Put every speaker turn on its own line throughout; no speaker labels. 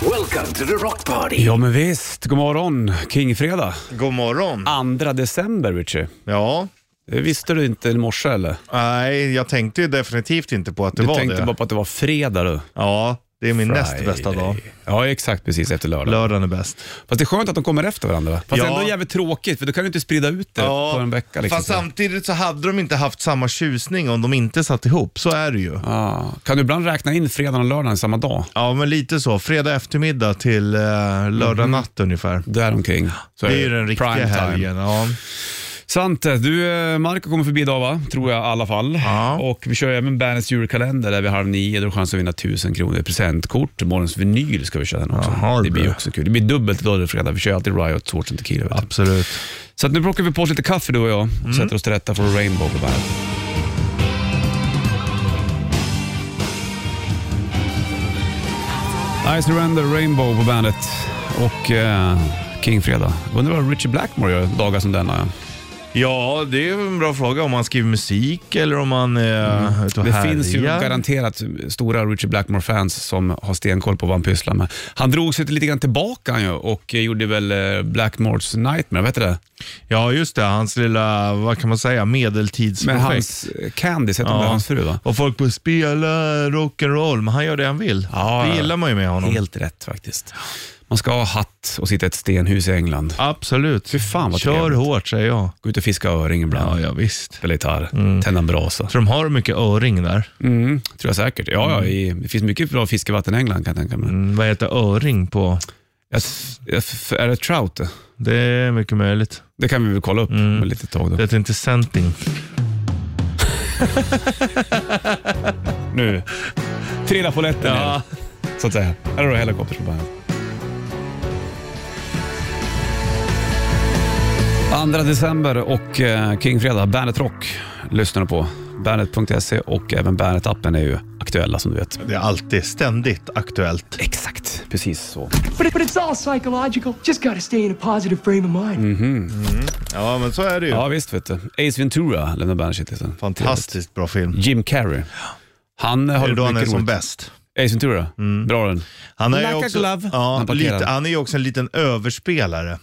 Welcome to the rock party.
Ja men visst, god morgon. Kingfredag.
God morgon.
2 december Richie.
Ja,
Det visste du inte i morse eller?
nej, jag tänkte ju definitivt inte på att det
Du
var
tänkte
det.
bara på att det var fredag du.
Ja, det är min
Friday.
näst bästa dag.
Ja exakt, precis efter lördag.
Lördagen är bäst.
Fast det är skönt att de kommer efter varandra. Fast
Ja.
ändå jävligt tråkigt för då kan du inte sprida ut det på en vecka. Liksom.
fast samtidigt så hade de inte haft samma tjusning om de inte satt ihop. Så är det ju.
ah. Kan du ibland räkna in fredagen och lördagen samma dag?
Ja, men lite så. Fredag eftermiddag till eh, lördag natt ungefär.
Däromkring. Så
Det är ju den riktiga
Mhm. prime time.
helgen. Ja.
Svante, du, eh, Marco kommer förbi idag va? Tror jag i alla fall.
Ja.
Och vi kör även Bandets julkalender där vi halv nio. Då har du chans att vinna 1000 kronor i presentkort. Morgons vinyl ska vi köra den också.
Jaha,
det blir ju
du.
också kul. Det blir dubbelt idag och fredag. Vi kör alltid Riot, Swords and Tequila. Vet du.
Absolut.
Så att nu plockar vi på oss lite kaffe du och jag och
Mm.
sätter oss till rätta för Rainbow på bandet. I surrender Rainbow på bandet och eh, Kingfredag. Undrar vad Richie Blackmore gör dagar som denna.
Ja, det är en bra fråga om man skriver musik eller om man eh, är ute och
Mm. Det finns ju
härjar.
garanterat stora Richard Blackmore-fans som har stenkoll på vad han pysslar med. Han drog sig lite grann tillbaka han ju och eh, gjorde väl eh, Blackmores Nightmare, vet du det?
Ja, just det. Hans lilla, vad kan man säga,
Med
medeltidsprojekt.
hans eh, Candice, hette hon det, hans fru va?
Och folk bara spela rock'n'roll, men han gör det han vill.
Ja, ja.
det gillar man ju med honom.
Helt rätt faktiskt. Man ska ha hatt och sitta i ett stenhus i England.
Absolut.
Fy fan, vad
Kör
trevligt.
hårt säger jag.
Gå ut och fiska öring ibland.
ja Mm. visst.
Spela gitarr, tända en brasa.
Så de har mycket öring där.
Mm, tror jag säkert. Ja, ja, i, det finns mycket bra fiskevatten i England kan jag tänka mig.
Mm, vad heter öring på?
Jag, jag, är det trout? det?
Det är mycket möjligt.
Det kan vi väl kolla upp om ett litet tag. Då.
Mm. Det heter inte senting.
nu. Trilla på lätten
Ja.
ner, så att säga. Här har du Helicopters på bandet. 2 december och eh, Kingfredag, Bandet Rock lyssnar du på. Bandet.se och även Bandet-appen är ju aktuella som du vet.
Det är alltid ständigt aktuellt.
Exakt, precis så.
But, it, but it's all psychological. Just got to stay in a positive frame of mind.
Ja, men så är det ju.
Ja visst vet du. Ace Ventura lämnar Bandet-kittelsen.
Fantastiskt bra film.
Jim Carrey. Han eh, har
Det är då
gjort
han är
mycket
som
roligt.
bäst. Mm.
Ace Ventura, bra den.
Han är,
Like
ju
a
också,
glove.
ja,
Han
han,
parkerar. Mhm.
lite, han är ju också en liten överspelare.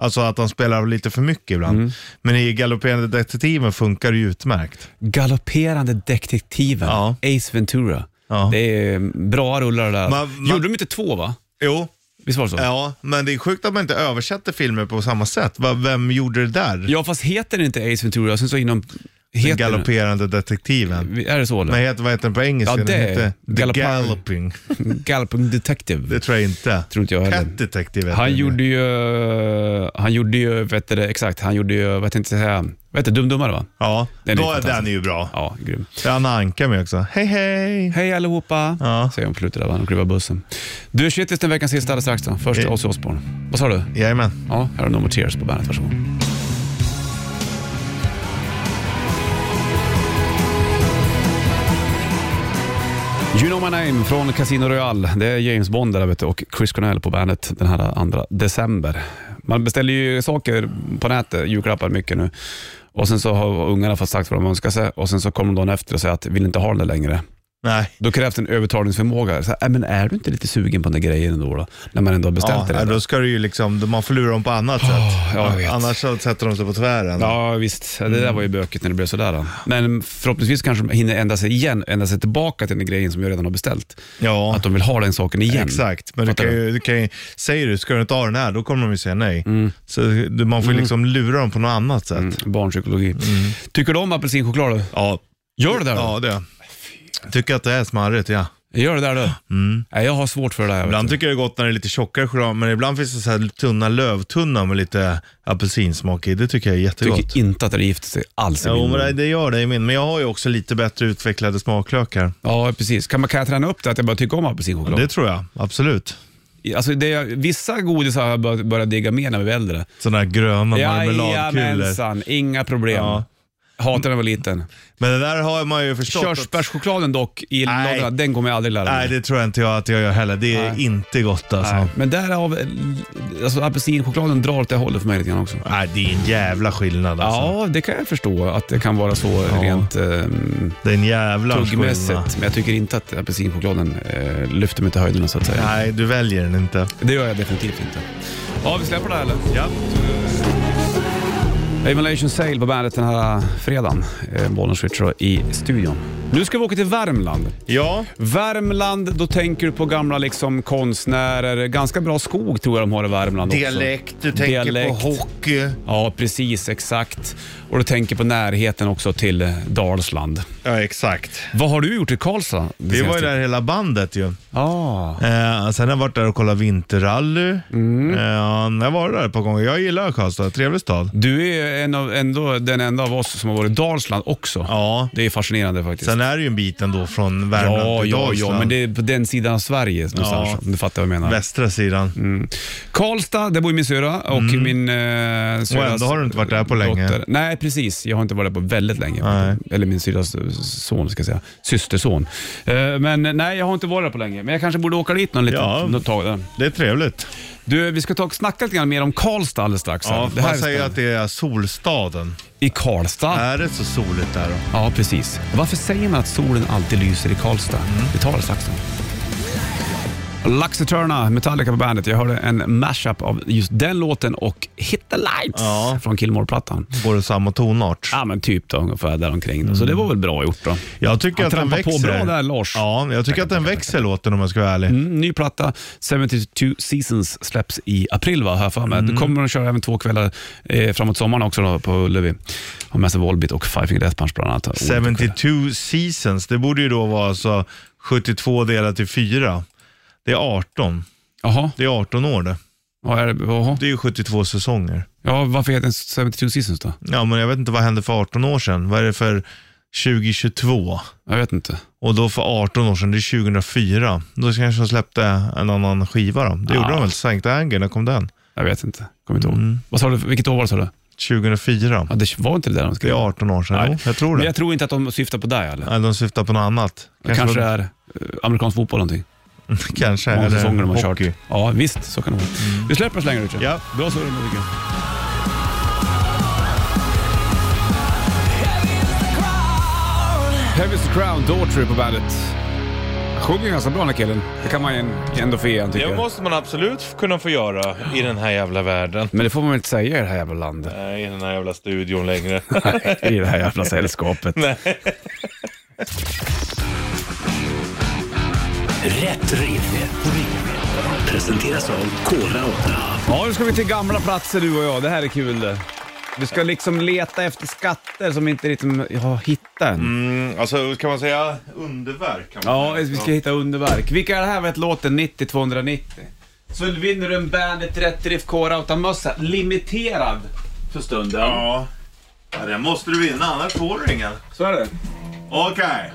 Alltså att han spelar lite för mycket ibland. Men i Galopperande detektiven funkar det ju utmärkt.
Galopperande detektiven,
Ja.
Ace Ventura.
Ja.
Det är mm, bra rullar det där.
Man- man-
Gjorde de inte två va?
Jo,
Visst var det så?
ja, men det är sjukt att man inte översätter filmer på samma sätt. Va- Vem gjorde det där?
Ja, fast heter det inte Ace Ventura? Sen så inom...
Den
Heter den-
galopperande detektiven.
Är det så eller?
Nej, heter, vad heter den på engelska?
Ja,
den
det-
heter The
Galoppar-
Galloping.
Galloping Detective.
Det tror jag inte.
Tror inte jag heller.
Pet Detective heter
Han
den.
gjorde ju... Han gjorde ju, vet du det, exakt, han gjorde ju, vad tänkte jag säga, vet du, Dumdummare va?
Ja,
Den är
då är
fantastisk.
den är ju bra.
Ja, grym.
Det är Anna Anka med också. Hej hej!
Hej allihopa,
Ja.
säger hon på slutet där, när de kliver av bussen. Du, shitlist den veckans sista alldeles strax då. Först
Hej.
Ozzy Osbourne. Vad sa du?
Jajamän.
Ja, här har No More Tears på bandet. Varsågod. You know my name från Casino Royale. Det är James Bond där vet du, och Chris Cornell på bandet den här 2 december. Man beställer ju saker på nätet, julklappar mycket nu. Och sen så har ungarna fått sagt vad de önskar sig och sen så kommer de dagen efter och säger att vill inte ha den där längre.
Nej.
Då krävs en övertalningsförmåga. Så här, "Äh, men är du inte lite sugen på den där grejen ändå då? När man ändå har
Ja,
beställt det.
nej, då ska du ju liksom, man får lura dem på annat sätt.
ja, jag vet.
Annars så sätter de sig på tvären.
Ja visst, det där var ju bökigt när det blev sådär. då. Men förhoppningsvis kanske de hinner ändra sig igen, ändra sig tillbaka till den grejen som jag redan har beställt.
Ja.
Att de vill ha den saken igen.
Exakt, men du
Fattar
kan ju, du kan ju, säger du ska du inte ha den här, då kommer de ju säga nej. Så du, man får ju liksom lura dem på något annat sätt.
Mm, Barnpsykologi. Tycker du om apelsinchoklad då?
Mm. Ja.
Gör du det då?
ja, det. Tycker att det är smarrigt, ja.
Gör det där du? Nej, jag har svårt för det där. jag vet
Mm. Ibland
inte.
tycker jag det är gott när det är lite tjockare choklad, men ibland finns det så här tunna lövtunna med lite apelsinsmak i. Det tycker jag är jättegott.
tycker inte att det gifter sig alls i
Jo,
min mun.
men det- det gör det i min. Men jag har ju också lite bättre utvecklade smaklökar.
Ja, precis. Kan, man, kan jag träna upp det att jag bara tycker om apelsinchoklad?
Det tror jag, absolut.
Alltså, det är, vissa godisar har jag bör- börjat digga mer när vi är äldre.
Sådana här gröna marmeladkulor.
Jajamensan, inga problem.
Ja.
Hatade den var liten.
Men det där har man ju förstått. att-
Körsbärschokladen dock i
Nej.
lådorna, den kommer jag aldrig lära mig.
Nej, det tror jag inte jag att jag gör heller. Det är inte gott alltså.
Nej.
Nej.
Men därav, eh, alltså apelsinchokladen drar åt det hållet för mig lite grann också.
det är en jävla skillnad alltså.
Ja, det kan jag förstå att det kan vara så rent eh,
Det är en jävla skillnad.
tuggmässigt. Men jag tycker inte att apelsinchokladen eh, lyfter mig till höjderna så att säga.
Nej, du väljer den inte.
Det gör jag definitivt inte. Ja, vi släpper det här eller?
Ja.
Emulation Sale på bandet den här fredagen. Eh, Bollnäs Switcher i studion. Nu ska vi åka till Värmland.
Ja.
Värmland, då tänker du på gamla liksom, konstnärer. Ganska bra skog tror jag de har i Värmland också.
Dialekt, du tänker
Dialekt.
på hockey.
Ja, precis. Exakt. Och du tänker på närheten också till eh, Dalsland.
Ja, exakt.
Vad har du gjort i Karlstad? det
Vi var
senaste?
ju där hela bandet ju.
Ah.
Eh, sen har jag varit där och kollat vinterrally.
Mm.
Eh, jag har varit där ett par gånger. Jag gillar Karlstad, trevlig stad.
Du är ju en av, ändå den enda av oss som har varit i Dalsland också.
Ja.
Det är fascinerande faktiskt.
Sen är det ju en bit ändå från Värmland
ja,
till
ja, ja,
Dalsland.
men det är på den sidan av Sverige någonstans.
Ja.
om Du fattar vad jag menar.
Västra sidan.
Mm. Karlstad, där bor ju min syrra och min eh,
Och Mm. ändå har du inte varit där på länge.
dotter. Nej, precis. Jag har inte varit där på väldigt länge.
Nej.
Eller min syrras son, ska jag säga. Systerson. Eh, men nej, jag har inte varit där på länge. Men jag kanske borde åka dit någon liten,
Ja.
något tag. Där.
Det är trevligt.
Du, vi ska ta och snacka lite grann mer om Karlstad alldeles strax. här.
Ja,
det här
man
är Ah.
säger att
spännande.
det är solstaden.
I Karlstad?
Är det så soligt där då?
Ja, precis. Varför säger man att solen alltid lyser i Karlstad? Vi tar det strax. då. Lux Eterna, Metallica på bandet. Jag hörde en mashup av just den låten och Hit the Lights
Ja.
från Killmore-plattan.
Går det samma tonart?
Ja, men typ då, ungefär däromkring. Då. Så det var väl bra gjort då.
Jag tycker
Han
att den
trampar på
växer.
bra där, Lars.
Ja, jag tycker att den växer låten om jag ska vara ärlig.
Mm, ny platta, 72 Seasons, släpps i april va, har jag för mig. Du kommer att köra även två kvällar eh, framåt sommaren också då, på Ullevi. Har med sig Volbeat och Five Finger Death Punch bland annat.
72 seasons, det borde ju då vara så 72 delat till 4. Det är 18.
Jaha,
Det är 18 år det.
vad är det? Jaha.
Det är ju 72 säsonger.
Ja, varför heter den 72 Seasons då?
Ja, men jag vet inte vad hände för 18 år sedan. Vad är det för 2022?
Jag vet inte.
Och då för 18 år sedan, det är 2004. Då kanske de släppte en annan skiva då. Det gjorde
Ja.
de väl? Sankt Anger, när kom den?
Jag vet inte. Kommer inte ihåg. Vad sa du? Vilket år var det sa du?
2004.
Ja, det var inte det där de
Det
skrev.
är 18 år sedan. Jo, jag tror
Men
det.
jag tror inte att de syftar på dig eller?
Nej, de syftar på något annat.
Det kanske är eh, amerikansk fotboll eller någonting.
Kanske.
Många
eller
säsonger de har
hockey.
kört. Ja, visst. Så kan det vara. Vi släpper oss längre Richard.
Ja.
Bra surr musiken. Heavy is the Crown, Daughtry på bandet. Sjunger ganska bra den här killen. Det kan man ju ändå få ge han, tycker
Det
jag.
måste man absolut kunna få göra i den här jävla världen.
Men det får man väl inte säga i det här jävla landet.
Nej, i den här jävla studion längre.
Nej, I det här jävla sällskapet.
Rätt riff. Rätt riff. Presenteras av Kora 8.
Ja, nu ska vi till gamla platser du och jag. Det här är kul det. Vi ska liksom leta efter skatter som vi inte riktigt har hittat än.
Mm, alltså, kan man säga underverk? Kan man
Ja,
säga.
vi ska hitta underverk. Vilka är det här vet låten 90-290? Så vinner du en Bandit Rätt Drift K-Rauta-mössa. Limiterad för stunden.
Ja. Ja, den måste du vinna, annars får du ingen.
Så är det.
Okej.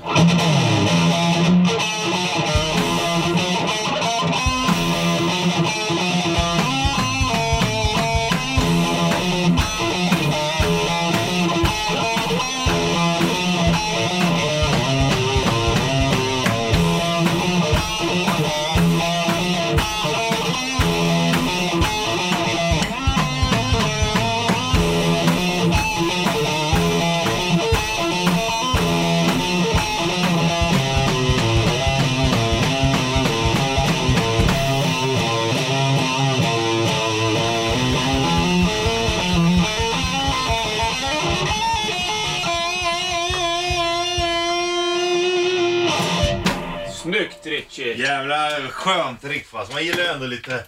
Snyggt Richie!
Jävla skönt riff alltså. Man gillar ju ändå lite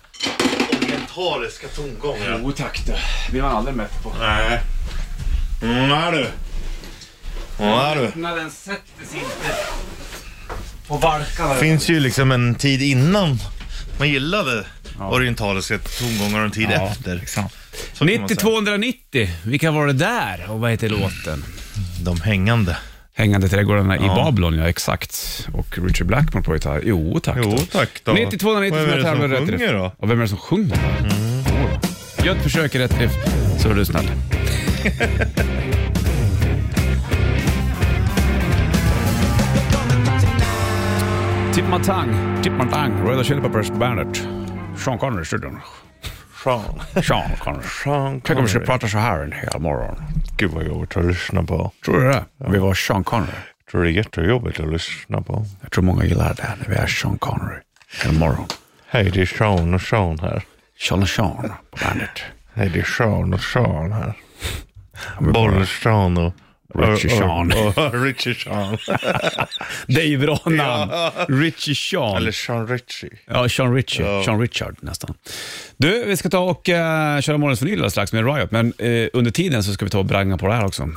orientaliska tongångar.
Jo tack du. blir man aldrig mätt på.
Nej. Mm, här du. Mm, här du.
Öppnaden sätter sig inte på valkarna.
finns ju liksom en tid innan man gillade orientaliska tongångar och en tid
Ja,
efter.
exakt.
Så kan man säga.
90-290. Vilka var det där och vad heter låten?
De hängande.
Hängande trädgårdarna i Babylon, ja exakt. Och Richard Blackmore på gitarr. Jo tack
Jo,
då.
tack då.
90-290
Vem är det
jag tävlar
som
rätt
sjunger
riff.
då? Mm.
Och vem är det som sjunger? Gör ett försök i rätt riff så är du snäll. Tip my tongue, tip my tongue. Red Hot Chili Peppers på bandet. Sean Connery i studion.
Sean.
Sean Connery.
Sean
Tänk om vi skulle
Connery.
prata så här en hel morgon.
Gud vad jobbigt att lyssna på.
Tror du det? Vi var Sean Connery.
Jag tror det är jättejobbigt att lyssna på.
Jag tror många gillar det här när vi är Sean Connery. En morgon.
Hej, det är Sean och Sean här.
Sean och Sean på bandet.
Hej, det är Sean och Sean här.
Vi bara-
Bollers Sean och...
Richie Sean.
och- och- Richie Sean.
Det är ju bra namn. Richie Sean.
Eller Sean Richie.
Ja, Sean Richie.
Ja.
Sean Richard nästan. Du, vi ska ta och eh, köra morgonens vinyl alldeles strax med Riot, men eh, under tiden så ska vi ta och branga på det här också.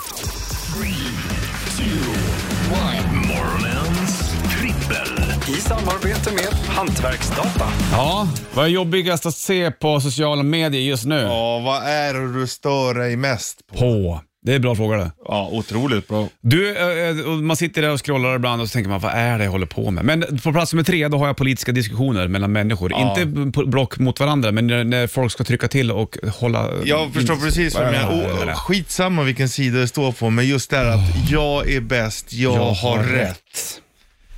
Morgonens trippel.
I samarbete med Hantverksdata.
Ja, vad är jobbigast att se på sociala medier just nu?
Ja, vad är det du stör dig mest på?
På. Det är en bra fråga det.
Ja, otroligt bra.
Du, eh, eh, och man sitter där och scrollar ibland och så tänker man, vad är det jag håller på med? Men på plats nummer tre, då har jag politiska diskussioner mellan människor. Inte p- block mot varandra, men när, när folk ska trycka till och hålla...
Jag förstår precis vad du menar. Oh, oh, skitsamma vilken sida det står på, men just det här att jag är bäst, jag, har rätt.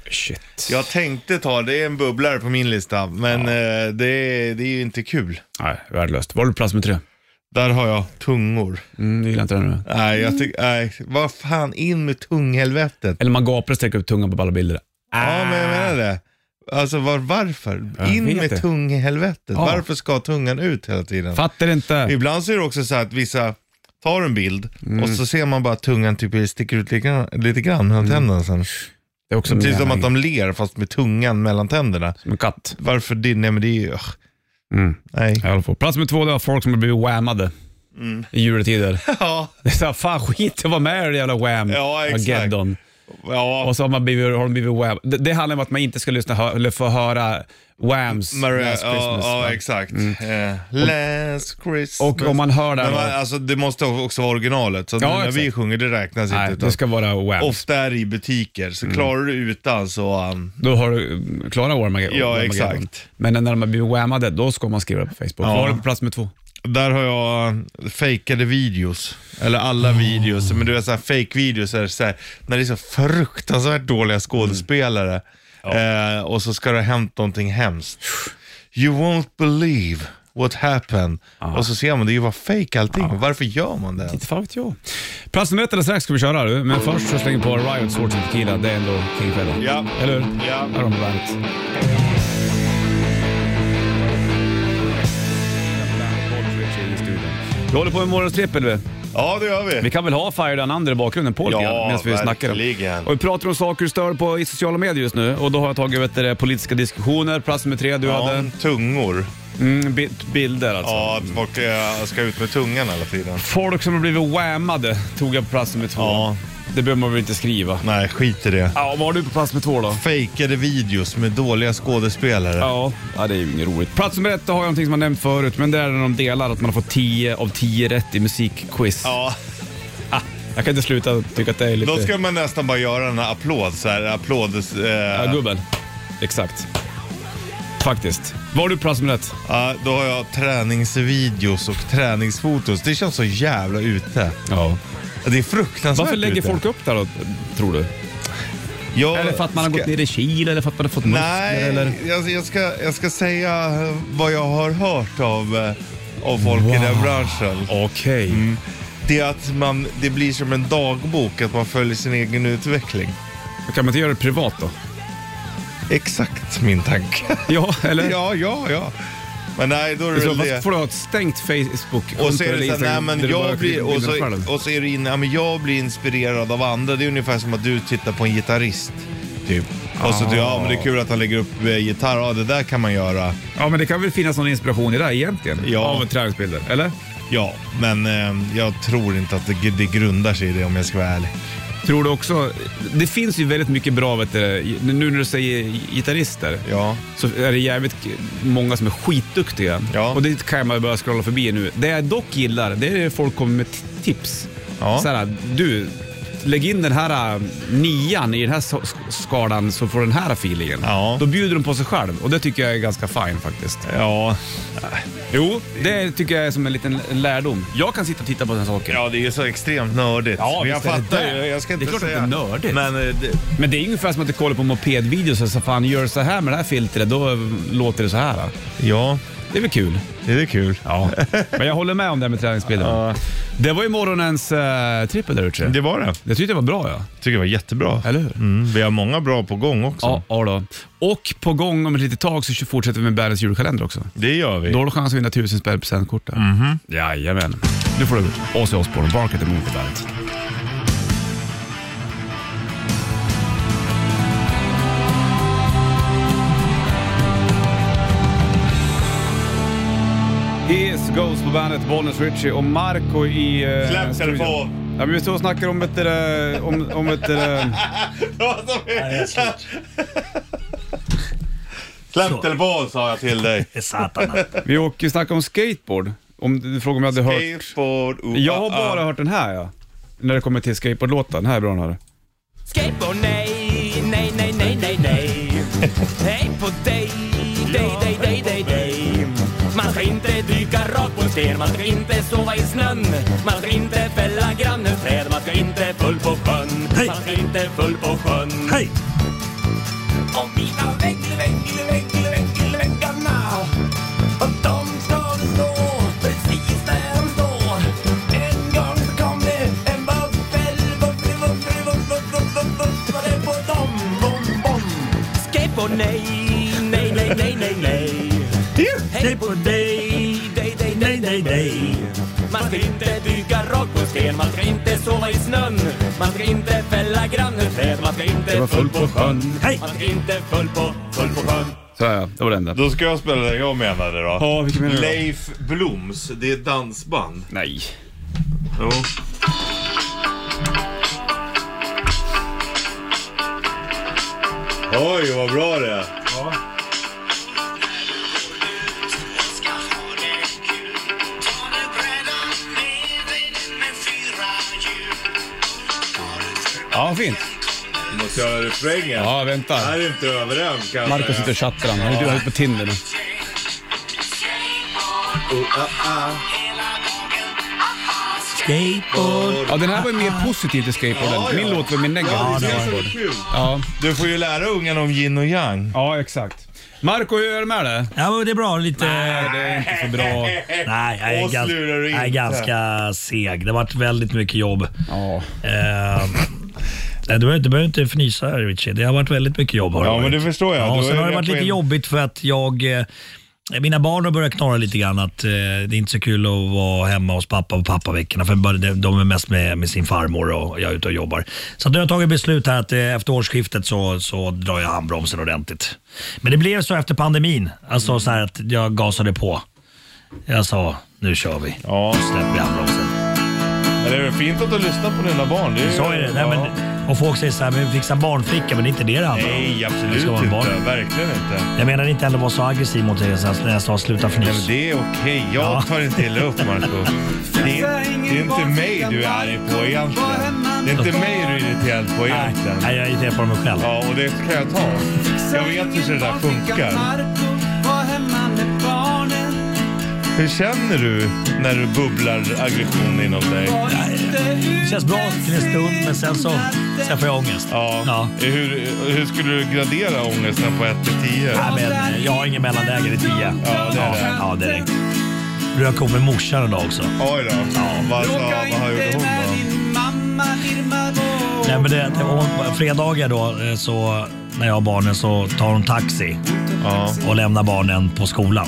oh.
Shit.
Jag tänkte ta, det är en bubblare på min lista, men eh, det, är- det är ju inte kul.
Nej, värdelöst. Var du på plats nummer tre?
Där har jag tungor.
Mm, jag gillar inte det nu.
Nej, jag tycker, nej, vad fan, in med tunghelvetet.
Eller man gapar och sträcker upp tungan på alla bilder.
Ja, men jag menar det. Alltså var, varför?
Jag
In
vet
med
det.
tunghelvetet.
Ja.
Varför ska tungan ut hela tiden?
Fattar inte.
Ibland så är det också så här att vissa tar en bild och så ser man bara att tungan typ sticker ut lite grann, lite grann mellan
Mm.
tänderna sen.
Det är också
Typ
min
som
hjärna.
att de ler fast med tungan mellan tänderna.
Som en katt.
Varför det? Nej men det är ju... ugh.
Mm.
Nej.
Jag håller på. Plats nummer två, det var folk som har blivit whammade.
Mm.
I juletider.
Ja,
Det är såhär, fan skit i att vara med i det jävla wham.
Ja, exakt.
Armageddon.
ja.
Och så har, man blivit, har de blivit wham. Det, det handlar om att man inte ska lyssna hö- eller få höra whams
Maria,
last
ja,
Christmas. va? Mm.
ja exakt. Eh, last Christmas.
Och om man hör det här
Men man,
då?
alltså, det måste också vara originalet. Så att
Ja,
när
exakt.
vi sjunger det räknas
Nej,
inte.
det
Utan,
ska Mm. vara whams.
Ofta är det i butiker, så klarar du utan så... Um,
Då har du eh, klarat Armageddon.
Ja,
Armageddon.
exakt.
Men när de har blivit whammade, då ska man skriva det på Facebook. Vad har du på plats nummer två?
Där har jag eh, fejkade videos. Eller
Ah.
alla videos. Men du vet såhär fake-videos. Är så här, när det är så fruktansvärt dåliga skådespelare. Eh, och så ska det ha hänt någonting hemskt. You won't believe what happened.
Ah.
Och så ser man, det är ju bara fake allting. Varför gör man det?
Inte fan vet jag. Plats nummer ett eller strax ska vi köra, du. men först så slänger vi på Riot Swords and Tequila. Det är ändå King-kvällen.
Ja.
Eller hur?
Ja.
Där har de på bandet. Vi håller på med morgonens trippel. vi.
Ja, det gör
Vi
vi.
kan väl ha Fire Down Under i bakgrunden på lite
Ja,
grann medan vi snackar.
verkligen.
Och vi pratar om saker du stör på i sociala medier just nu och då har jag tagit vet du, det, politiska diskussioner, plats nummer tre du
Ja,
hade.
tungor.
Mm, bi- bilder alltså.
Ja, att folk eh, ska ut med tungan hela tiden.
Folk som har blivit whammade tog jag på plats nummer två.
Ja.
Det behöver man väl inte skriva.
Nej, skit i det.
Ja, vad har du på plats med två då?
Fejkade videos med dåliga skådespelare.
Ja. ja, det är ju inget roligt. Plats nummer ett då har jag någonting som jag nämnt förut, men det är när de delar att man har fått 10 av 10 rätt i musikquiz.
Ja.
Jag kan inte sluta tycka att det är
Då
lite...
ska man nästan bara göra en applåd så här. Applåd. Eh,
Ja, gubben. Exakt. Faktiskt. Vad har du på plats nummer ett?
ja, då har jag träningsvideos och träningsfotos. Det känns så jävla ute.
Ja.
Det är fruktansvärt
Varför lägger
ute.
folk upp det här då, tror du?
Jag
Eller för att man har
ska-
gått ner i kil eller för att man har fått muskler
Nej,
eller?
jag, jag, ska, jag ska säga eh, vad jag har hört av, eh, av folk i den branschen.
Okej.
Mm. Det är att man, det blir som en dagbok, att man följer sin egen utveckling.
Kan man inte göra det privat då?
Exakt min tanke.
Ja, eller?
ja, ja, ja. Men nej, då är det
Så
väl
vad
det.
får du ha ett stängt Facebook
Och så är det så här, nej men jag blir, och så,
själv.
och så är det inne, ja, men jag blir inspirerad av andra. Det är ungefär som att du tittar på en gitarrist. Typ. Och så tycker ja men det är kul att han lägger upp eh, gitarr, ja det där kan man göra.
Ja, men det kan väl finnas någon inspiration i det här egentligen?
Ja.
Av träningsbilder, eller?
Ja, men eh, jag tror inte att det, det grundar sig i det om jag ska vara ärlig.
Tror du också... Det finns ju väldigt mycket bra, vet du, nu när du säger gitarrister.
Ja.
Så är det jävligt många som är skitduktiga.
Ja.
Och det kan man ju börja scrolla förbi nu. Det jag dock gillar, det är när folk kommer med t- tips.
Ja.
Så här, du, lägg in den här äh, nian i den här so- sk- skalan så får den här feelingen.
Ja.
Då bjuder de på sig själv och det tycker jag är ganska fine faktiskt.
Ja.
Jo, det tycker jag är som en liten lärdom. Jag kan sitta och titta på den här saken.
ja, det är ju så extremt nördigt.
Ja,
Men jag
visst är det
fattar
det.
ju. Jag ska
Det är
inte
klart att
säga.
det är nördigt.
Men eh, det,
Men det är ungefär som att du kollar på mopedvideos och så fan gör så här med det här filtret, då eh, låter det så här. då.
ja,
Det är väl kul?
det är kul.
Ja. Men jag håller med om det här med träningsbilden.
Ja.
Det var ju morgonens uh, trippel där ute.
Det var det.
Jag tyckte det var bra ja.
tycker det var jättebra.
Eller hur?
Mm, vi har många bra på gång också.
Ja, ja då. Och på gång om ett litet tag så fortsätter vi med Bandets julkalender också.
Det gör vi.
Då har du chans att vinna 1000 spänn presentkort där. Mm-hmm. Jajamän. Nu får du Ozzy Osbourne, Bark at the Moon på bandet. His Ghost på bandet, Bollnäs Ritchie och Marco i... eh,
Släpp
studion.
telefon.
Ja, men vi står och snackar om ett... eh, om, om ett eh,
Släpp telefon sa jag till dig.
Satan.
vi åker och snackar om skateboard. Om, du frågar om jag hade hört...
Skateboard, uh,
Jag har
uh,
bara hört den här ja. När det kommer till skateboardlåten. Den här är bra den här.
Skateboard, nej, nej, nej, nej, nej, nej. Hej på dig, dig, dig, dig, dig, dig. Man ska inte dyka rakt på en sten, man ska inte sova i snön. Man ska inte fälla grannens träd, man ska inte full på sjön.
Hej.
Man ska inte full på sjön.
Hej!
Och mina väggelväggelväggelväggarna Och de ska du stå precis där de står En gång så kom det en buffel Buffel, buffel, buffel, buffel, buffel på dem Bom, bom Skateboard, nej, nej, nej, nej, nej, nej Hej på dig, dig, dig, dig, dig, dig Man ska inte dyka rakt på en sten Man ska inte sova i snön Man ska inte fälla grannens träd Man ska inte full på sjön Man ska inte full på, full på sjön
Så här, ja, det var den där.
Då ska jag spela det jag menade då.
Ja, vilken menar du då?
Leif Bloms, det är ett dansband.
Nej.
Jo. Oj, vad bra det är.
Ja, fint.
Du måste höra refrängen.
Ja, vänta.
Det här är inte överens kanske.
Marco sitter och chattar han. Han är ute på Tinder nu.
Skateboard
Ja, den här var ju mer positiv till skateboarden.
Ja, ja.
Min låt var mer negativ
Ja,
till
det är det som
skateboard.
är kul.
Ja.
Du får ju lära ungarna om yin och yang.
ja, exakt. Marco, hur är det med dig?
Ja, men det är bra. Lite...
Nej, det är inte så bra.
Nej, jag är,
Oss
gans-
lurar du
jag är
inte.
ganska seg. Det har varit väldigt mycket jobb.
Ja.
Eh, nej, du behöver, du behöver inte fnysa här Richie. Det har varit väldigt mycket jobb. Har
Ja, men
varit.
det förstår jag.
Ja,
Du
och sen
ju
har det
med
varit
på
lite
en-
jobbigt för att jag eh, mina barn har börjat knorra lite grann att eh, det är inte så kul att vara hemma hos pappa på pappaveckorna för bara de, de är mest med, med sin farmor och jag är ute och jobbar. Så att nu har jag tagit beslut här att eh, efter årsskiftet så, så drar jag handbromsen ordentligt. Men det blev så efter pandemin, alltså så här att jag gasade på. Jag sa, nu kör vi.
Ja,
Släpper vi handbromsen.
men det är väl fint att du lyssnar på dina barn. Det är ju-
Så är det. Nej,
Ja.
men, och folk säger så här, men fixa barnflicka, men det är inte det det handlar om.
Nej,
Det
absolut
ska vara en barn.
inte. Verkligen inte.
Jag menar inte heller att vara så aggressiv mot dig så att när jag sa sluta
Nej, men
fnys.
det är okej. Jag
Ja.
tar inte illa upp, Marco. Det, är- det är inte mig du är arg på egentligen. Det är inte mig du är irriterad på
Nej,
egentligen.
nej, jag är irriterad på mig själv.
Ja, och det kan jag ta. Jag vet hur det där funkar. Hur känner du när du bubblar aggression inom dig?
Det känns bra till en stund, men sen så sen får jag ångest.
Ja.
Ja.
Hur, hur skulle du gradera ångesten på 1 till 10?
Nej, men eh, jag har ingen mellanläge, det är tio.
Ja, det är det.
Ja, det är det. Du har kommit med morsan idag också.
Oj då. Vad, vad, vad gjorde hon då?
Nej, men det, det, hon, fredagar då, eh, så, när jag har barnen, så tar hon taxi.
Ja.
och lämna barnen på skolan.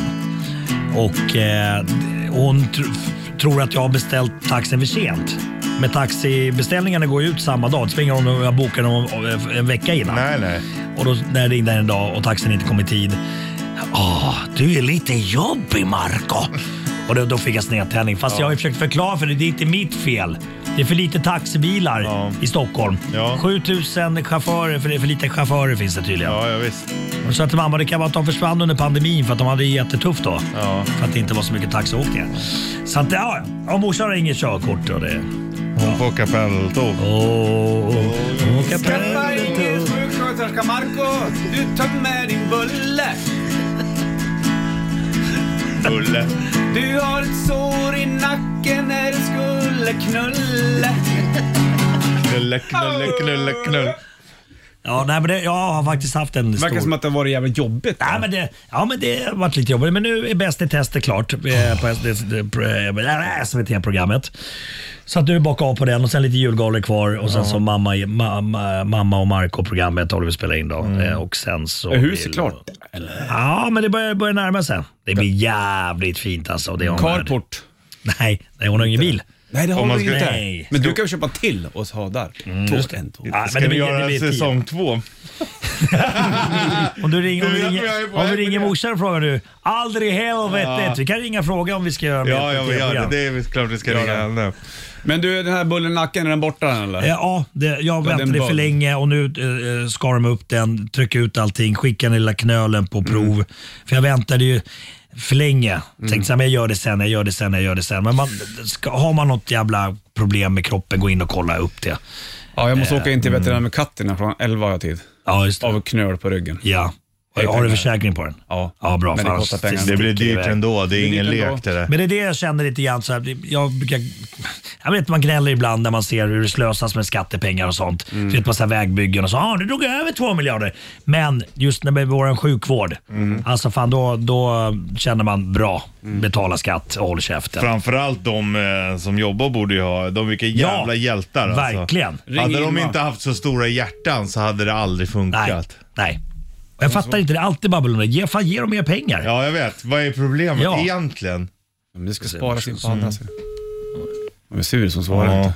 Och eh, hon tr- f- tror att jag har beställt taxin för sent. Men taxibeställningarna går ju ut samma dag. Det spelar ingen roll om jag bokar dem om- om- en vecka innan.
Nej, nej.
Och då när jag ringde en dag och taxin inte kom i tid. Åh, du är lite jobbig Marco. Och då, då fick jag snedtändning. Fast jag har ju försökt förklara för dig, det är inte mitt fel. Det är för lite taxibilar
Ja.
i Stockholm.
Ja.
7000 chaufförer, för det är för lite chaufförer finns det tydligen.
Ja, ja visst.
Och Så att mamma, det kan vara att de försvann under pandemin för att de hade det jättetufft då.
Ja.
För att det inte var så mycket taxiåkningar. Så att ja, ja. och morsan har inget körkort och det...
på kapelltåg.
Åh, åka
Skaffa
pendeltåg.
ingen sjuksköterska Marco, du tar med din bulle.
Bulle.
Du har ett sår i nacken när du skulle knulla.
Knulle, knulle, knulle, knulle.
Ja, nej, men det, jag har faktiskt haft en stor...
verkar som att det har varit jävligt jobbigt.
Nej, men det, ja, men det har varit lite jobbigt. Men nu är Bäst i test är klart eh, på SVT-programmet. Så att du bakar av på den och sen lite julgalor kvar och sen så mamma, mamma, mamma och Marco-programmet håller vi spela in då.
Mm.
Eh, Och sen så...
Är huset
vill-
klart?
Ja, men det börjar, börjar närma sig. Det blir jävligt fint alltså. Det är hon värd.
Carport.
Nej, nej, hon har ingen bil.
Nej, det har
Om man
vi
skulle
inte.
ta-
Nej.
Men du kan ju köpa till och ha där. Två, en, två.
Ja,
Ska
det
vi
blir- det
göra
blir tio.
säsong två?
Om du ringer, om
Du
vi
vet vad jag är
ringer,
på
om
väg
vi
med
ringer
det.
morsan och frågar du. Aldrig i helvete. Vi kan ringa och fråga om vi ska göra
Ja, ja,
ett
vi gör det.
TV-program.
Det är väl klart vi ska ringa henne.
Men du, den här bullen i nacken, är den borta än, eller?
Eh, Ja, det, jag
det är en
väntade för
bug.
länge och nu eh, eh, skar de upp den, tryckte ut allting, skickade den lilla knölen
Mm.
på prov. För jag väntade ju för länge. Tänkte så här, men jag gör det sen, jag gör det sen, jag gör det sen. Men man, ska, har man något jävla problem med kroppen, gå in och kolla upp det.
Ja, jag måste åka in till veterinären med katten här från 11 har jag tid.
Ja, just det.
Av knöl på ryggen.
Ja. Har, har du försäkring på den?
Ja.
Ja, bra.
Men det
fan,
kostar pengar.
sticker
Det blir dyrt
iväg.
ändå. Det är ingen
dyrt ändå.
lek det där.
Men det är det jag känner lite grann. Så här, jag, brukar, jag vet man gnäller ibland när man ser hur det slösas med skattepengar och sånt. Mm. Vet, massa vägbyggen och så. Ah, nu drog jag över två miljarder. Men just när det gäller vår sjukvård. Alltså fan då, då känner man bra. Betala skatt och håll käften.
Framförallt de eh, som jobbar borde ju ha, de vilka jävla hjältar alltså.
verkligen.
Ring
Hade de
Irma.
inte haft så stora hjärtan så hade det aldrig
Nej.
funkat.
Nej. Och jag fattar inte, det är alltid babbel om det. Ge, fan, ge dem mer pengar.
Ja, jag vet. Vad är problemet
Ja.
egentligen?
Men det ska sparas in på andra sidan. Men sur som svarar
Ja.
inte.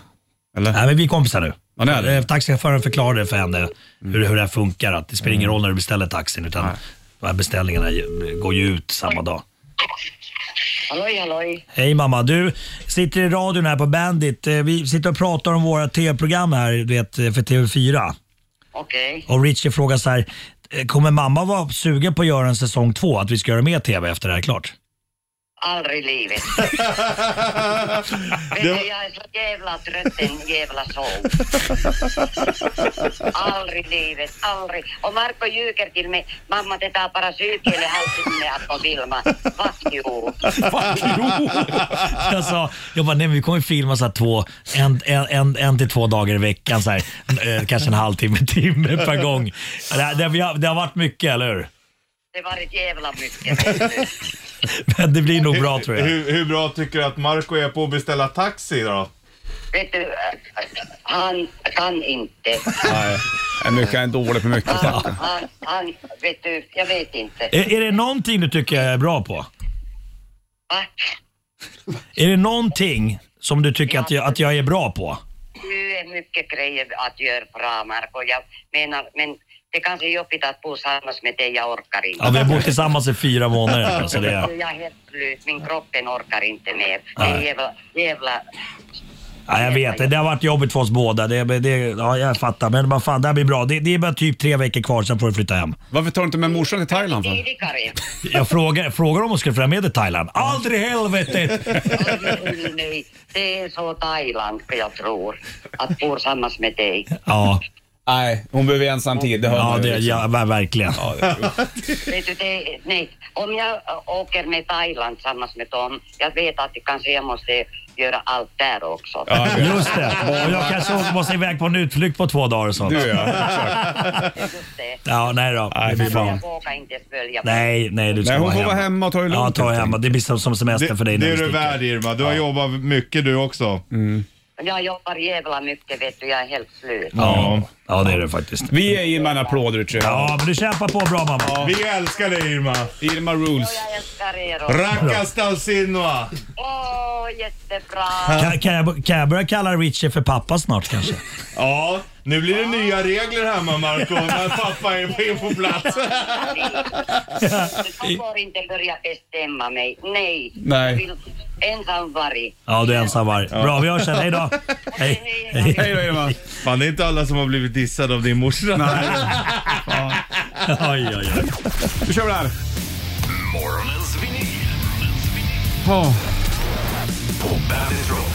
Eller?
Nej, men vi är kompisar nu.
Ja, det är det.
Eh, Taxichauffören förklarade för henne hur, hur det här funkar. Att det spelar
Mm.
ingen roll när du beställer taxin utan de här beställningarna ju- går ju ut samma dag.
Halloj, halloj.
Hej mamma, du sitter i radion här på Bandit. Eh, Vi sitter och pratar om våra tv-program här du vet, eh, för TV4.
Okej.
Och Richie frågar så här, eh, kommer mamma vara sugen på att göra en säsong två? Att vi ska göra mer tv efter det här är klart?
Aldrig i livet. Vet
Det
du,
var-
jag är så jävla trött en jävla show. Aldrig i livet, aldrig. Och Marko ljuger till mig. Mamma, det tar bara 20 eller halvtimme att få filma. Fuck you.
Jag sa, jag bara, nej men vi kommer filma så här två, en, en, en, en till två dagar i veckan. Så här, eh, kanske en halvtimme, timme per gång. Det, det, vi har, det har varit mycket, eller hur?
Det var ett jävla mycket. vet du.
Men det blir nog bra tror jag.
Hur, hur bra tycker du att Marco är på att beställa taxi då?
Vet du, äh, han kan inte.
Nej. Nej, mycket är dålig på mycket.
Han, han, han, vet du, jag vet inte.
Är, är det någonting du tycker jag är bra på?
Va?
Är det någonting som du tycker att jag, att jag är bra på?
Nu är mycket grejer att göra bra, Marko. Jag menar, men det kanske är jobbigt att bo tillsammans med dig. Jag orkar inte.
Ja, vi har bott tillsammans i fyra månader. Så det är,
Jag är helt slut. Min kroppen orkar inte mer. Det är
Nej.
jävla, jävla...
ja, jag vet, det Det har varit jobbigt för oss båda. Det, det, ja, jag fattar, men vad fan, det här blir bra. Det, det är bara typ tre veckor kvar, sen får du flytta hem.
Varför tar du inte med morsan till Thailand för?
Tidigare.
Jag frågar, frågar om hon skulle följa med till Thailand. Aldrig i helvete!
Oj, nej. Det är så Thailand, jag tror, att bo tillsammans med dig.
Ja,
Nej, hon behöver ensam tid. Det hör
ja,
man ju
det,
liksom.
ja ver- verkligen.
Vet du, det, nej. Om jag äh, åker med Thailand tillsammans med dem, jag vet att kanske jag måste göra allt där också.
Just det. Och jag kanske måste iväg på en utflykt på två dagar och sånt.
Du ja, exakt.
Just det.
Ja, nej då. Det blir
Men
bra.
jag vågar inte följa med.
Nej, nej, du ska
Nej, hon
vara
får
hemma.
vara hemma och ta det lugnt.
Ja, ta
helt
hemma. Det blir som, som semester
Det,
för dig. när
det är
vi
du
sticker.
värd Irma. Du har jobbat mycket du också.
Jag jobbar jävla mycket, vet du. Jag är helt slut.
Ja. ja, det är du faktiskt.
enkelt. Vi ger Irma en applåd Richard.
Ja, men du kämpar på bra mamma.
Vi älskar dig Irma.
Irma rules.
Jag älskar er också.
Rakastan sinua.
Åh, jättebra!
Kan, kan, jag, kan jag börja kalla Richie för pappa snart kanske?
Ja, nu blir det nya regler hemma Marco när pappa är på plats.
Jag får inte börja bestämma mig. Nej.
Nej.
Jag vill ensam varg.
Ja, du är ensam varg. Bra, vi hörs sen. Hej då. Hej.
Hej.
Hej då Irma.
Fan, det är inte alla som har blivit dissade av din morsa.
Oj, oj, oj.
Nu kör vi det här.
Morgonens vinyl.
Ja.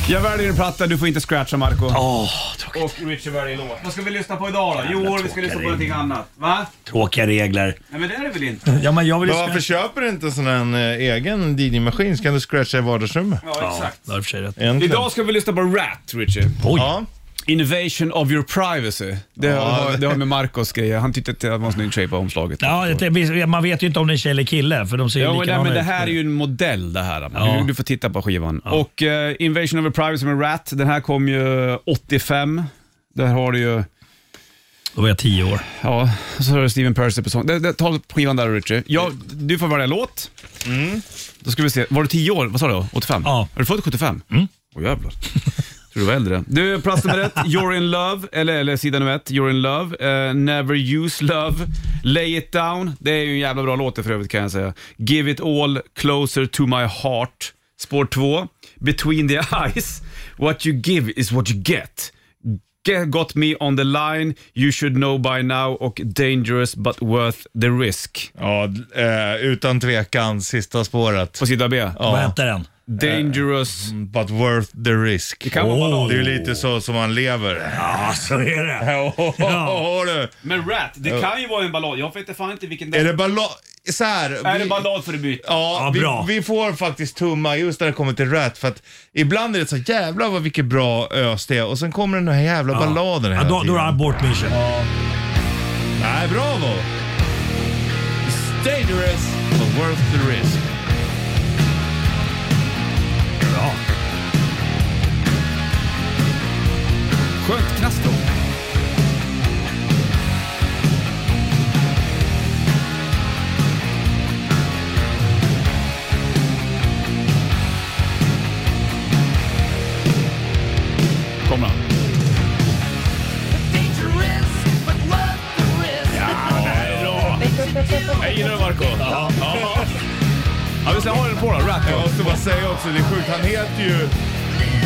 Jag väljer en platta, du får inte scratcha Marco.
Åh, tråkiga,
Och Richie väljer låt. Vad ska vi lyssna på idag då? Jo, vi ska lyssna på någonting annat. Va?
tråkiga regler.
Nej men det är det väl inte?
Ja, men jag vill ju
Men varför köper du inte en sån här eh, egen DJ-maskin? Så kan du scratcha i vardagsrummet.
Ja,
Ja,
exakt.
det har du för sig rätt.
Egentligen.
Idag ska vi lyssna på Rat, Richie.
Oj.
Ja.
Innovation of your privacy. Det har, det har med Marcos grejer. Han tyckte att det var en snygg tjej på omslaget.
Ja, det- det, man vet ju inte om det är en tjej eller kille för de ser ju
Ja, men, nej,
likadana
men det
ut.
här är ju en modell det här.
Ja.
Du, du får titta på skivan. Och eh, Invasion of a Privacy med Rat, den här kom ju 85. Där har du ju,
Då var jag tio år.
ja, så har du Steven Percy på sång. Det- det- Ta skivan där Richie. Ja, du får välja låt. Då ska vi se, var du 10 år? Vad sa du? 85?
Ja.
Är du född 75? Mm. Åh jävlar. Tror du var äldre. Du, plats nummer ett, You're in love, eller, eller sida nummer ett, You're in love, eh, Never use love, Lay it down, det är ju en jävla bra låt för övrigt kan jag säga. Give it all, Closer to my heart, spår två, Between the eyes, What you give is what you get. Get got me on the line, You should know by now och Dangerous but worth the risk.
Ja, d- eh, utan tvekan sista spåret.
På sida B,
Vad hette den?
Dangerous
But worth the risk. Det,
kan vara ballad.
det är ju lite så som man lever.
Ja, så är det.
Ja. du.
Men Rat, det kan ju vara en ballad. Jag vet fan inte vilken
Är det ballad? Så här.
Är
vi-
det ballad för debut?
Ja,
Ja, bra.
vi, vi får faktiskt tumma just när det kommer till rätt för att ibland är det så jävlar vad vilket bra ös det är och sen kommer den här jävla balladen
Ja,
hela
då, då är det
tiden.
abort mission.
Nej, bravo! It's dangerous but worth the risk.
Bra.
Skönt knastro. Kommer han. Jag gillar det Marco. Ja. Ja, vi ska ha den på då. Rat
Jag måste bara säga också, det är sjukt. Han heter ju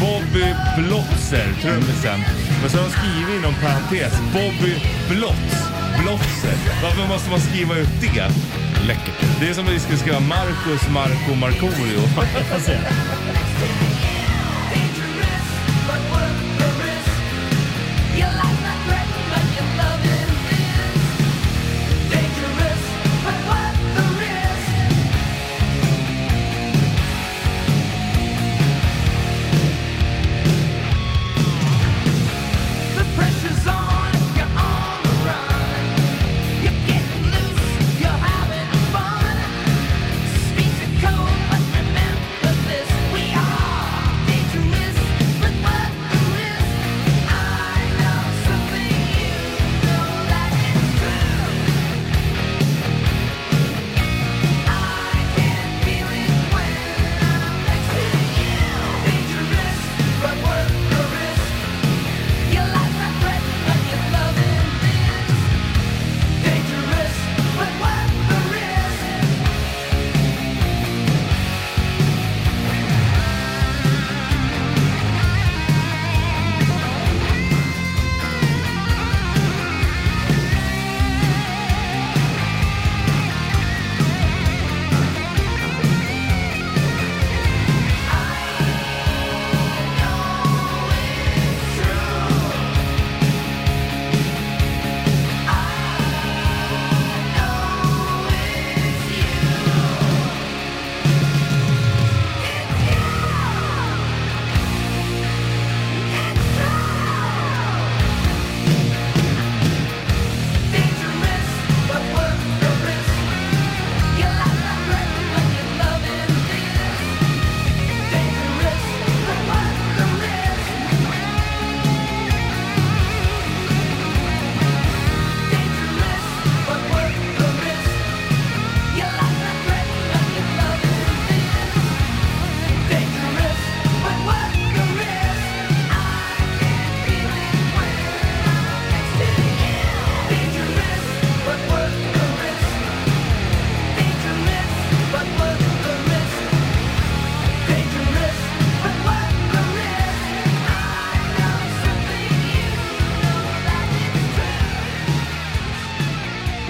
Bobby Blotzer, trummisen. Men så har han skrivit inom parentes, Bobby Blotz. Blotzer. Varför måste man skriva ut det?
Läckert.
Det är som om vi skulle skriva Marcus, Marco, Markoolio.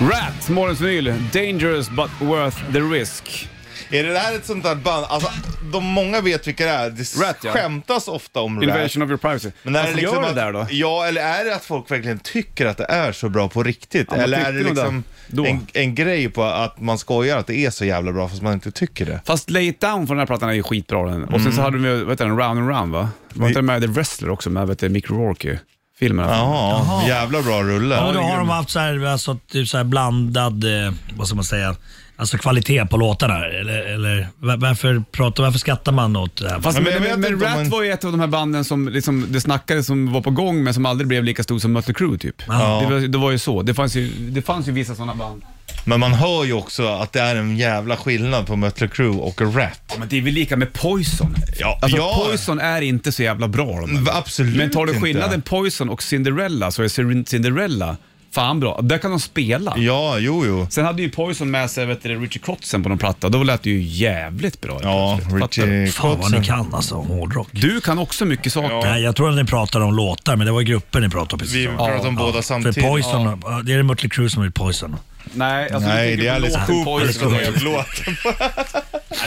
Rat, morgonsvinyl. Dangerous but worth the risk.
Är det där ett sånt där band? Alltså, de många vet vilka det är. Det
Rat, ja.
skämtas ofta om Rat.
Invasion of your privacy.
Men är
alltså,
det liksom
gör det
att,
där då?
Ja, eller är det att folk verkligen tycker att det är så bra på riktigt?
Ja, man
eller är
tyckte
det
nog
liksom
det då.
en, en grej på att man skojar att det är så jävla bra fast man inte tycker det?
Fast Lay It Down från den här plattan är ju skitbra den. Och
Mm.
sen så hade de ju, vad heter den, Round and Round va? Var inte den med The Wrestler också med, vet du, Mick Rourke-filmen?
Jaha, jävla bra rulle.
Ja, då har de haft så här, alltså, typ så här blandad, eh, vad ska man säga, alltså kvalitet på låtarna. Eller, eller va- varför, pratar, varför skrattar man åt det här?
Fast
Ja,
men,
men
men,
jag vet
men,
inte om
Rat
man-
var ju ett av de här banden som liksom, det snackades som var på gång men som aldrig blev lika stor som Mötley Crüe typ.
Ja.
Det, var, det var ju så. Det fanns ju, det fanns ju vissa sådana band.
Men man hör ju också att det är en jävla skillnad på Mötley Crüe och Rat.
Men det är väl lika med Poison?
Ja,
Alltså
ja.
Poison är inte så jävla bra. De här.
Va, absolut
Men tar du
inte.
skillnaden Poison och Cinderella så är Cin- Cinderella fan bra. Där kan de spela.
Ja, jo, jo.
Sen hade ju Poison med sig vet du, Richie Kotzen på någon platta. Då lät det ju jävligt bra.
Ja,
plötsligt. Fattar du?
Richie
Fan vad
Kotzen.
ni kan alltså om hårdrock.
Du kan också mycket saker.
Nej, jag tror att ni pratar om låtar, men det var grupper ni pratade om precis.
Vi
om.
pratar om båda
För
samtidigt.
Poison, ja, det är Mötley Crüe som är Poison.
Nej, alltså,
Nej, det är
lite
Alice Cooper som har gjort låten.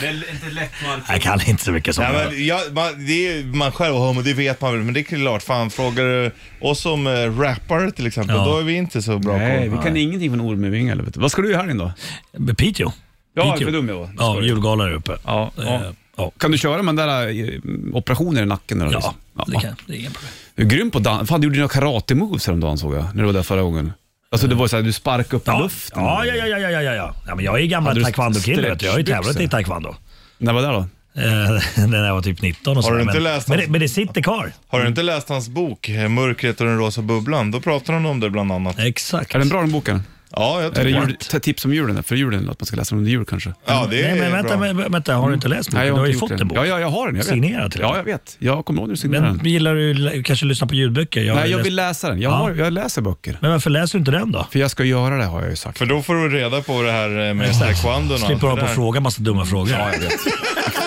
Det är inte lätt
Jag kan inte så mycket som
Nej,
det.
men jag, man, det är ju man själv och homo, det vet man väl, men det är klart, fan frågar du oss som eh, rappare till exempel,
Ja.
då är vi inte så bra
Nej,
på
vi kan ingenting från Ormövinge. eller vet du. Vad ska du göra här inne då?
Men Piteå.
Ja,
Piteå.
för dum jag var. Det ska
Ja,
du.
julgala där uppe.
Ja, ja.
Eh, ja.
Kan du köra med den där eh, operationen i nacken? Eller
Ja, det kan det är inga problem.
Du är grym på dans. Fan, du gjorde dina karate-moves häromdagen såg jag, när du var där förra gången. Alltså det var så här, du sparkade upp i
Ja,
luften.
ja, ja, ja, ja, ja, ja, ja. ja men jag är gammal
Hade du
taekwondo-kille. vet du. Jag har ju tävlat i
stretchbyxor?
taekwondo.
När var det då?
Eh, när jag var typ 19 och
Har du
sådär,
inte
men,
läst
men,
hans-
det, men det sitter kvar.
Har du inte läst hans bok eh, Mörkret och den rosa bubblan? Då pratar han om det bland annat.
Exakt.
Är den bra den boken?
Ja, jag
Är det
tycker
jul, t- tips om julen? För julen, att man ska läsa den under jul kanske?
Ja, det är
Nej, men
bra.
vänta, men, vänta, har du inte läst boken?
jag
du har ju
inte gjort
fått en bok.
Ja, ja, jag har den. Jag vet.
Signerad till och
Ja,
med.
jag vet. Jag kommer ihåg när du signerade
Men
den.
gillar du lä- kanske lyssna på ljudböcker? Jag har
Nej,
ju
jag
läst-
vill läsa den. Jag,
Ja.
har, jag läser böcker.
Men varför läser du inte den då?
För jag ska göra det har jag ju sagt.
För då får du reda på det här eh, med taekwondo och allt
Slipper
det
hålla på och
där.
fråga massa dumma frågor.
alltså, Ja,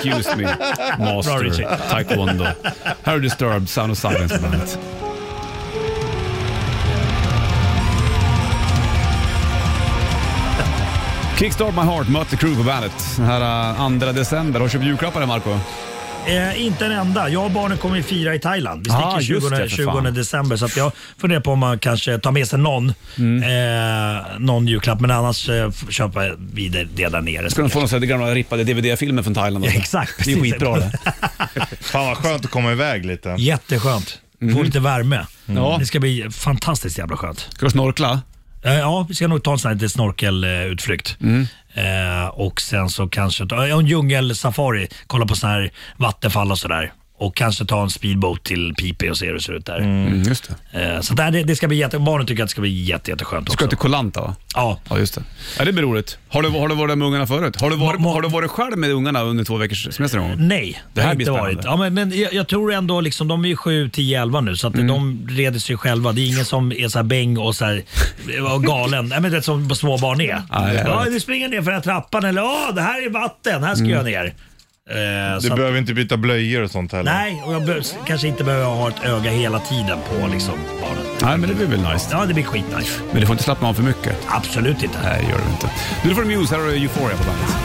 jag vet. Excuse me,
Bra,
master
Richie.
taekwondo. Här är Disturbed, Sound of Silence på bandet. Kickstart My Heart, Mötley Crüe på bandet. Den här 2 december. Har du köpt julklappar där, Marco?
Eh, inte en enda. Jag och barnen kommer ju fira i Thailand. Vi
Ah,
sticker
just
20,
det, för fan.
20 december så att jag funderar på om man kanske tar med sig någon,
Mm.
eh, någon julklapp. Men annars eh, f- köper vi det det där nere.
Ska de få någon sån här gamla rippade DVD-filmen från Thailand?
Ja, exakt,
Det är
precis.
skitbra det.
Fan vad skönt att komma iväg lite.
Jätteskönt. Få lite värme.
Mhm. Mm. Ja.
Det ska bli fantastiskt jävla skönt.
Ska du snorkla?
Eh, Ja, vi ska nog ta en sån här liten snorkelutflykt.
Mm.
Eh, och sen så kanske ta ja, en djungelsafari, kolla på sån här vattenfall och sådär. Och kanske ta en speedboat till Piteå och se hur det ser ut där.
Mm, just det.
Eh, Så där, det, det ska bli jätte, barnen tycker att det ska bli jätte, jätteskönt
Ska
också.
du till Koh Lanta va?
Ja.
Ja, just det. Ja, det blir roligt. Har du, har du varit där med ungarna förut? Har du, varit,
Ma- ma-
har du varit själv med ungarna under två veckors semester någon gång?
Nej,
Det
det
här
har
blir
inte
spännande.
varit. Ja, men, men jag, jag tror ändå, liksom, de är ju 7, 10, 11 nu så att de reder sig själva. Det är ingen som är så här bäng och så här, eh, och galen. Nej, men det är som små barn är.
Ja, jag
Ja,
vet.
vi springer ner för den här trappan eller åh, det här är vatten, här ska jag ner. Eh,
Du
så att,
behöver inte byta blöjor och sånt heller.
nej, och jag be- kanske inte behöver ha ett öga hela tiden på liksom, barnen.
Nej, men det blir väl nice.
Ja, det blir skitnice.
Men du får inte slappna av för mycket.
Absolut inte.
Nej, det gör du inte. Nu får du Muse, här har du Euphoria på bandet.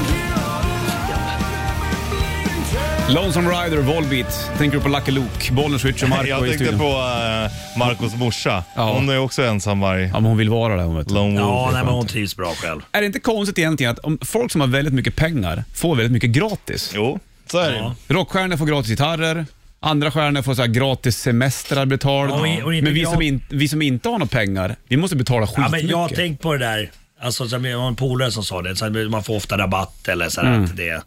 Lonesome Rider, Volbeat. Tänker du på Lucky Luke, Bollnäs, Rich och Marco
Jag
i
tänkte
studion?
på eh, Marcos morsa.
Ja.
Hon är också ensamvarg.
Ja, men hon vill vara där hon vet.
Lone wolf.
Ja, nej, men hon trivs bra själv.
Är det inte konstigt egentligen att om folk som har väldigt mycket pengar får väldigt mycket gratis?
Jo, så är det ju.
Ja.
Rockstjärnor får gratis gitarrer. Andra stjärnor får så här gratis semestrar betald.
Ja, och- och inte
men vi
jag-
som, in, vi som inte har några pengar, vi måste betala
Ja, men
skitmycket.
jag har tänkt på det där. Alltså, som jag har en polare som sa det, så här, man får ofta rabatt eller så här, att det.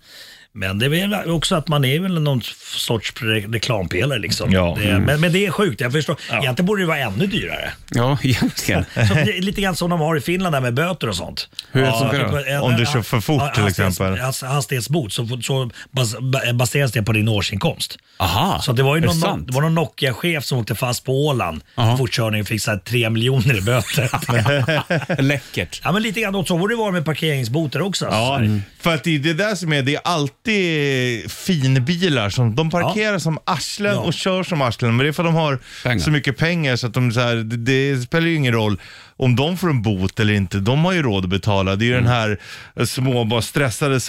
Men det är väl också att man är väl någon sorts re- reklampelare liksom.
Ja.
Det, men, men det är sjukt, jag förstår. Egentligen borde det vara ännu dyrare.
Ja, egentligen.
Så, det är lite grann som de har i Finland där med böter och sånt.
Hur är det som
typ
kan-
en-
Om du
en-
kör för fort,
ja,
till
hastighets-
exempel.
hast- Hastighetsbot, så, får- så bas, ba- baseras det på din årsinkomst.
Aha,
Så det var
Ah.
ju
är
någon,
det sant?
det var någon Nokia-chef som åkte fast på Åland
Aha.
för fortkörning och fick så här 3 miljoner i böter.
Läckert.
Ja, men lite grann åt så borde det vara med parkeringsboter också. Mm.
Ja, för att det är det där som är, det är alltid alltid finbilar. Som, de parkerar som arslen
Ja.
och kör som arslen. Men det är för att de har
Pengar.
så mycket pengar så att de så här, det, det spelar ju ingen roll om de får en bot eller inte. De har ju råd att betala. Det är ju den
Mm.
här eh, småbarn, stressade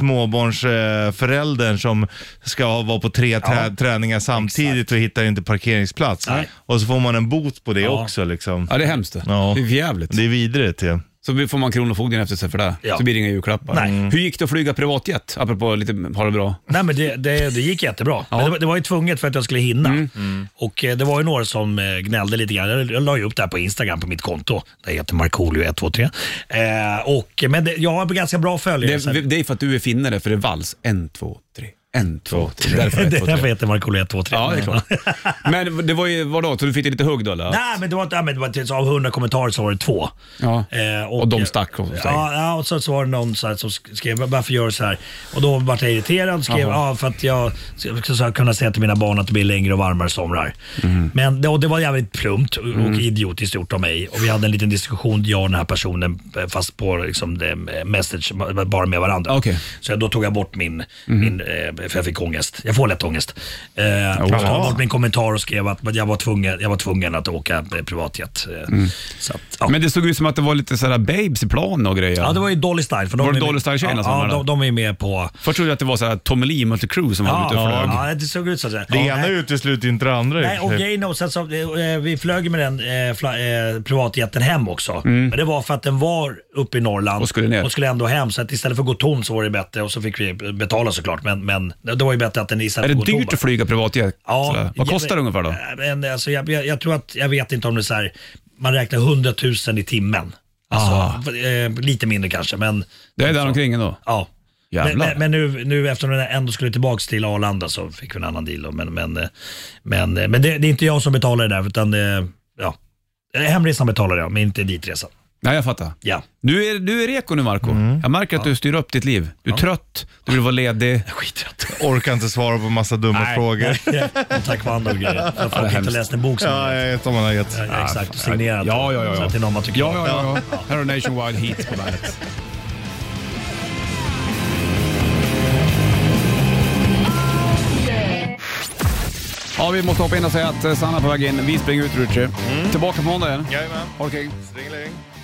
småbarnsföräldern som ska vara på tre trä, träningar samtidigt och hittar inte parkeringsplats.
Nej.
Och så får man en bot på det också. Liksom.
Ja, det är hemskt. det.
Ja.
Det är jävligt.
Det är vidrigt ju.
Så får man kronofogden efter sig för det.
Ja.
Så blir det inga julklappar.
Nej.
Hur gick det att flyga privatjet? Apropå lite, har det bra?
Nej, men det, det, det gick jättebra. Men det, var- det var ju tvunget för att jag skulle hinna.
Mm.
Och eh, Det var ju några som eh, gnällde lite grann. Jag, jag la ju upp det här på Instagram på mitt konto. Det heter Markoolio123. Eh, och, men det, jag har ganska bra följare. så
Det,
här-
det är för att du är finnare, för det är vals. En, två, tre. En, två, tre.
Det
Därför
är
ett, två,
därför jag
tre.
heter Markoolio123.
Ja, det är klart. Men det var ju, vadå, så du fick lite hugg då eller?
Nej, men det var, inte- nej, men det var till, så av 100 kommentarer så var det två.
Ja.
Eh,
Och de stack, och så säger.
ja, ja, och så, så var det någon så här, som skrev varför gör du så här? Och då vart jag irriterad och skrev ja, för att jag ska ska- ska kunna säga till mina barn att det blir längre och varmare somrar.
Mm.
Men det, och det var jävligt plumpt och, och idiotiskt gjort av mig. Och vi hade en liten diskussion, jag och den här personen, eh, fast på liksom, det, eh, message, bara med varandra.
Okej. Mm.
Så jag, då tog jag bort min, min, eh, för jag fick ångest. Jag får lätt ångest. Eh, så jag tog bort min kommentar och skrev att jag var tvungen, jag var tvungen att åka eh, privatjet. Eh, Så att, ja.
Mm. Men det såg ut som att det var lite sådär babes i plan och grejer.
Ja, det var ju Dolly Style. För de
Var det
är med-
Dolly Style-tjejerna
ja,
som var
ja,
där?
de, de är med på...
Först trodde jag att det var såhär Tommelin mot Crew som var
Ja,
ute och flög.
ja, det såg ut så. Att säga.
Det
ja,
ena
nej.
utesluter ju inte det andra. i och
Nej,
för
och
sig.
grejen är också att så, eh, vi flög med den eh, fla, eh, privatjeten hem också. Men det var för att den var uppe i Norrland
Mm. Och skulle ner.
och skulle ändå hem. Så att istället för att gå tom så var det bättre och så fick vi betala såklart. Men, men det var ju bättre att den istället
Är
för
det
att gå tom,
dyrt att flyga privatjet?
Ja,
sådär? Vad
ja,
kostar det ungefär då?
eh, Men, alltså, jag, jag, jag tror att, jag vet inte om det är så här, man räknar 100 000 i timmen.
Ah.
Alltså, eh, lite mindre kanske, men
Det är där omkring ändå.
ja. Men,
Jävlar.
men, men nu, nu eftersom den ändå skulle tillbaka till Arlanda så fick vi en annan deal. då. Men, men, eh, men, eh, men det, det är inte jag som betalar det där, utan eh, ja. Eh, Hemresan betalar jag, men inte ditresan.
Nej, jag fattar.
Ja.
Du är, du är reko nu Marco
Mm.
Jag märker att du styr upp ditt liv. Du är trött, du vill vara ledig.
Skiträtt.
Orkar inte svara på massa dumma frågor.
Taekwondo och grejer. För folk
hemskt. Ah,
inte läst en bok som
Ja, jag vet vad man har gett.
Ja, Exakt, och signerat.
Ja, ja, ja, ja.
Så att det är någon man tycker
Ja,
om.
ja, ja. ja. Här har Nationwide Heat på bandet. Ja, vi Mm. måste hoppa in och säga att eh, Sanna är på väg in. Vi springer ut, Richie. Tillbaka på måndag igen.
Jajamän.
Ha det kul.
Stringeling.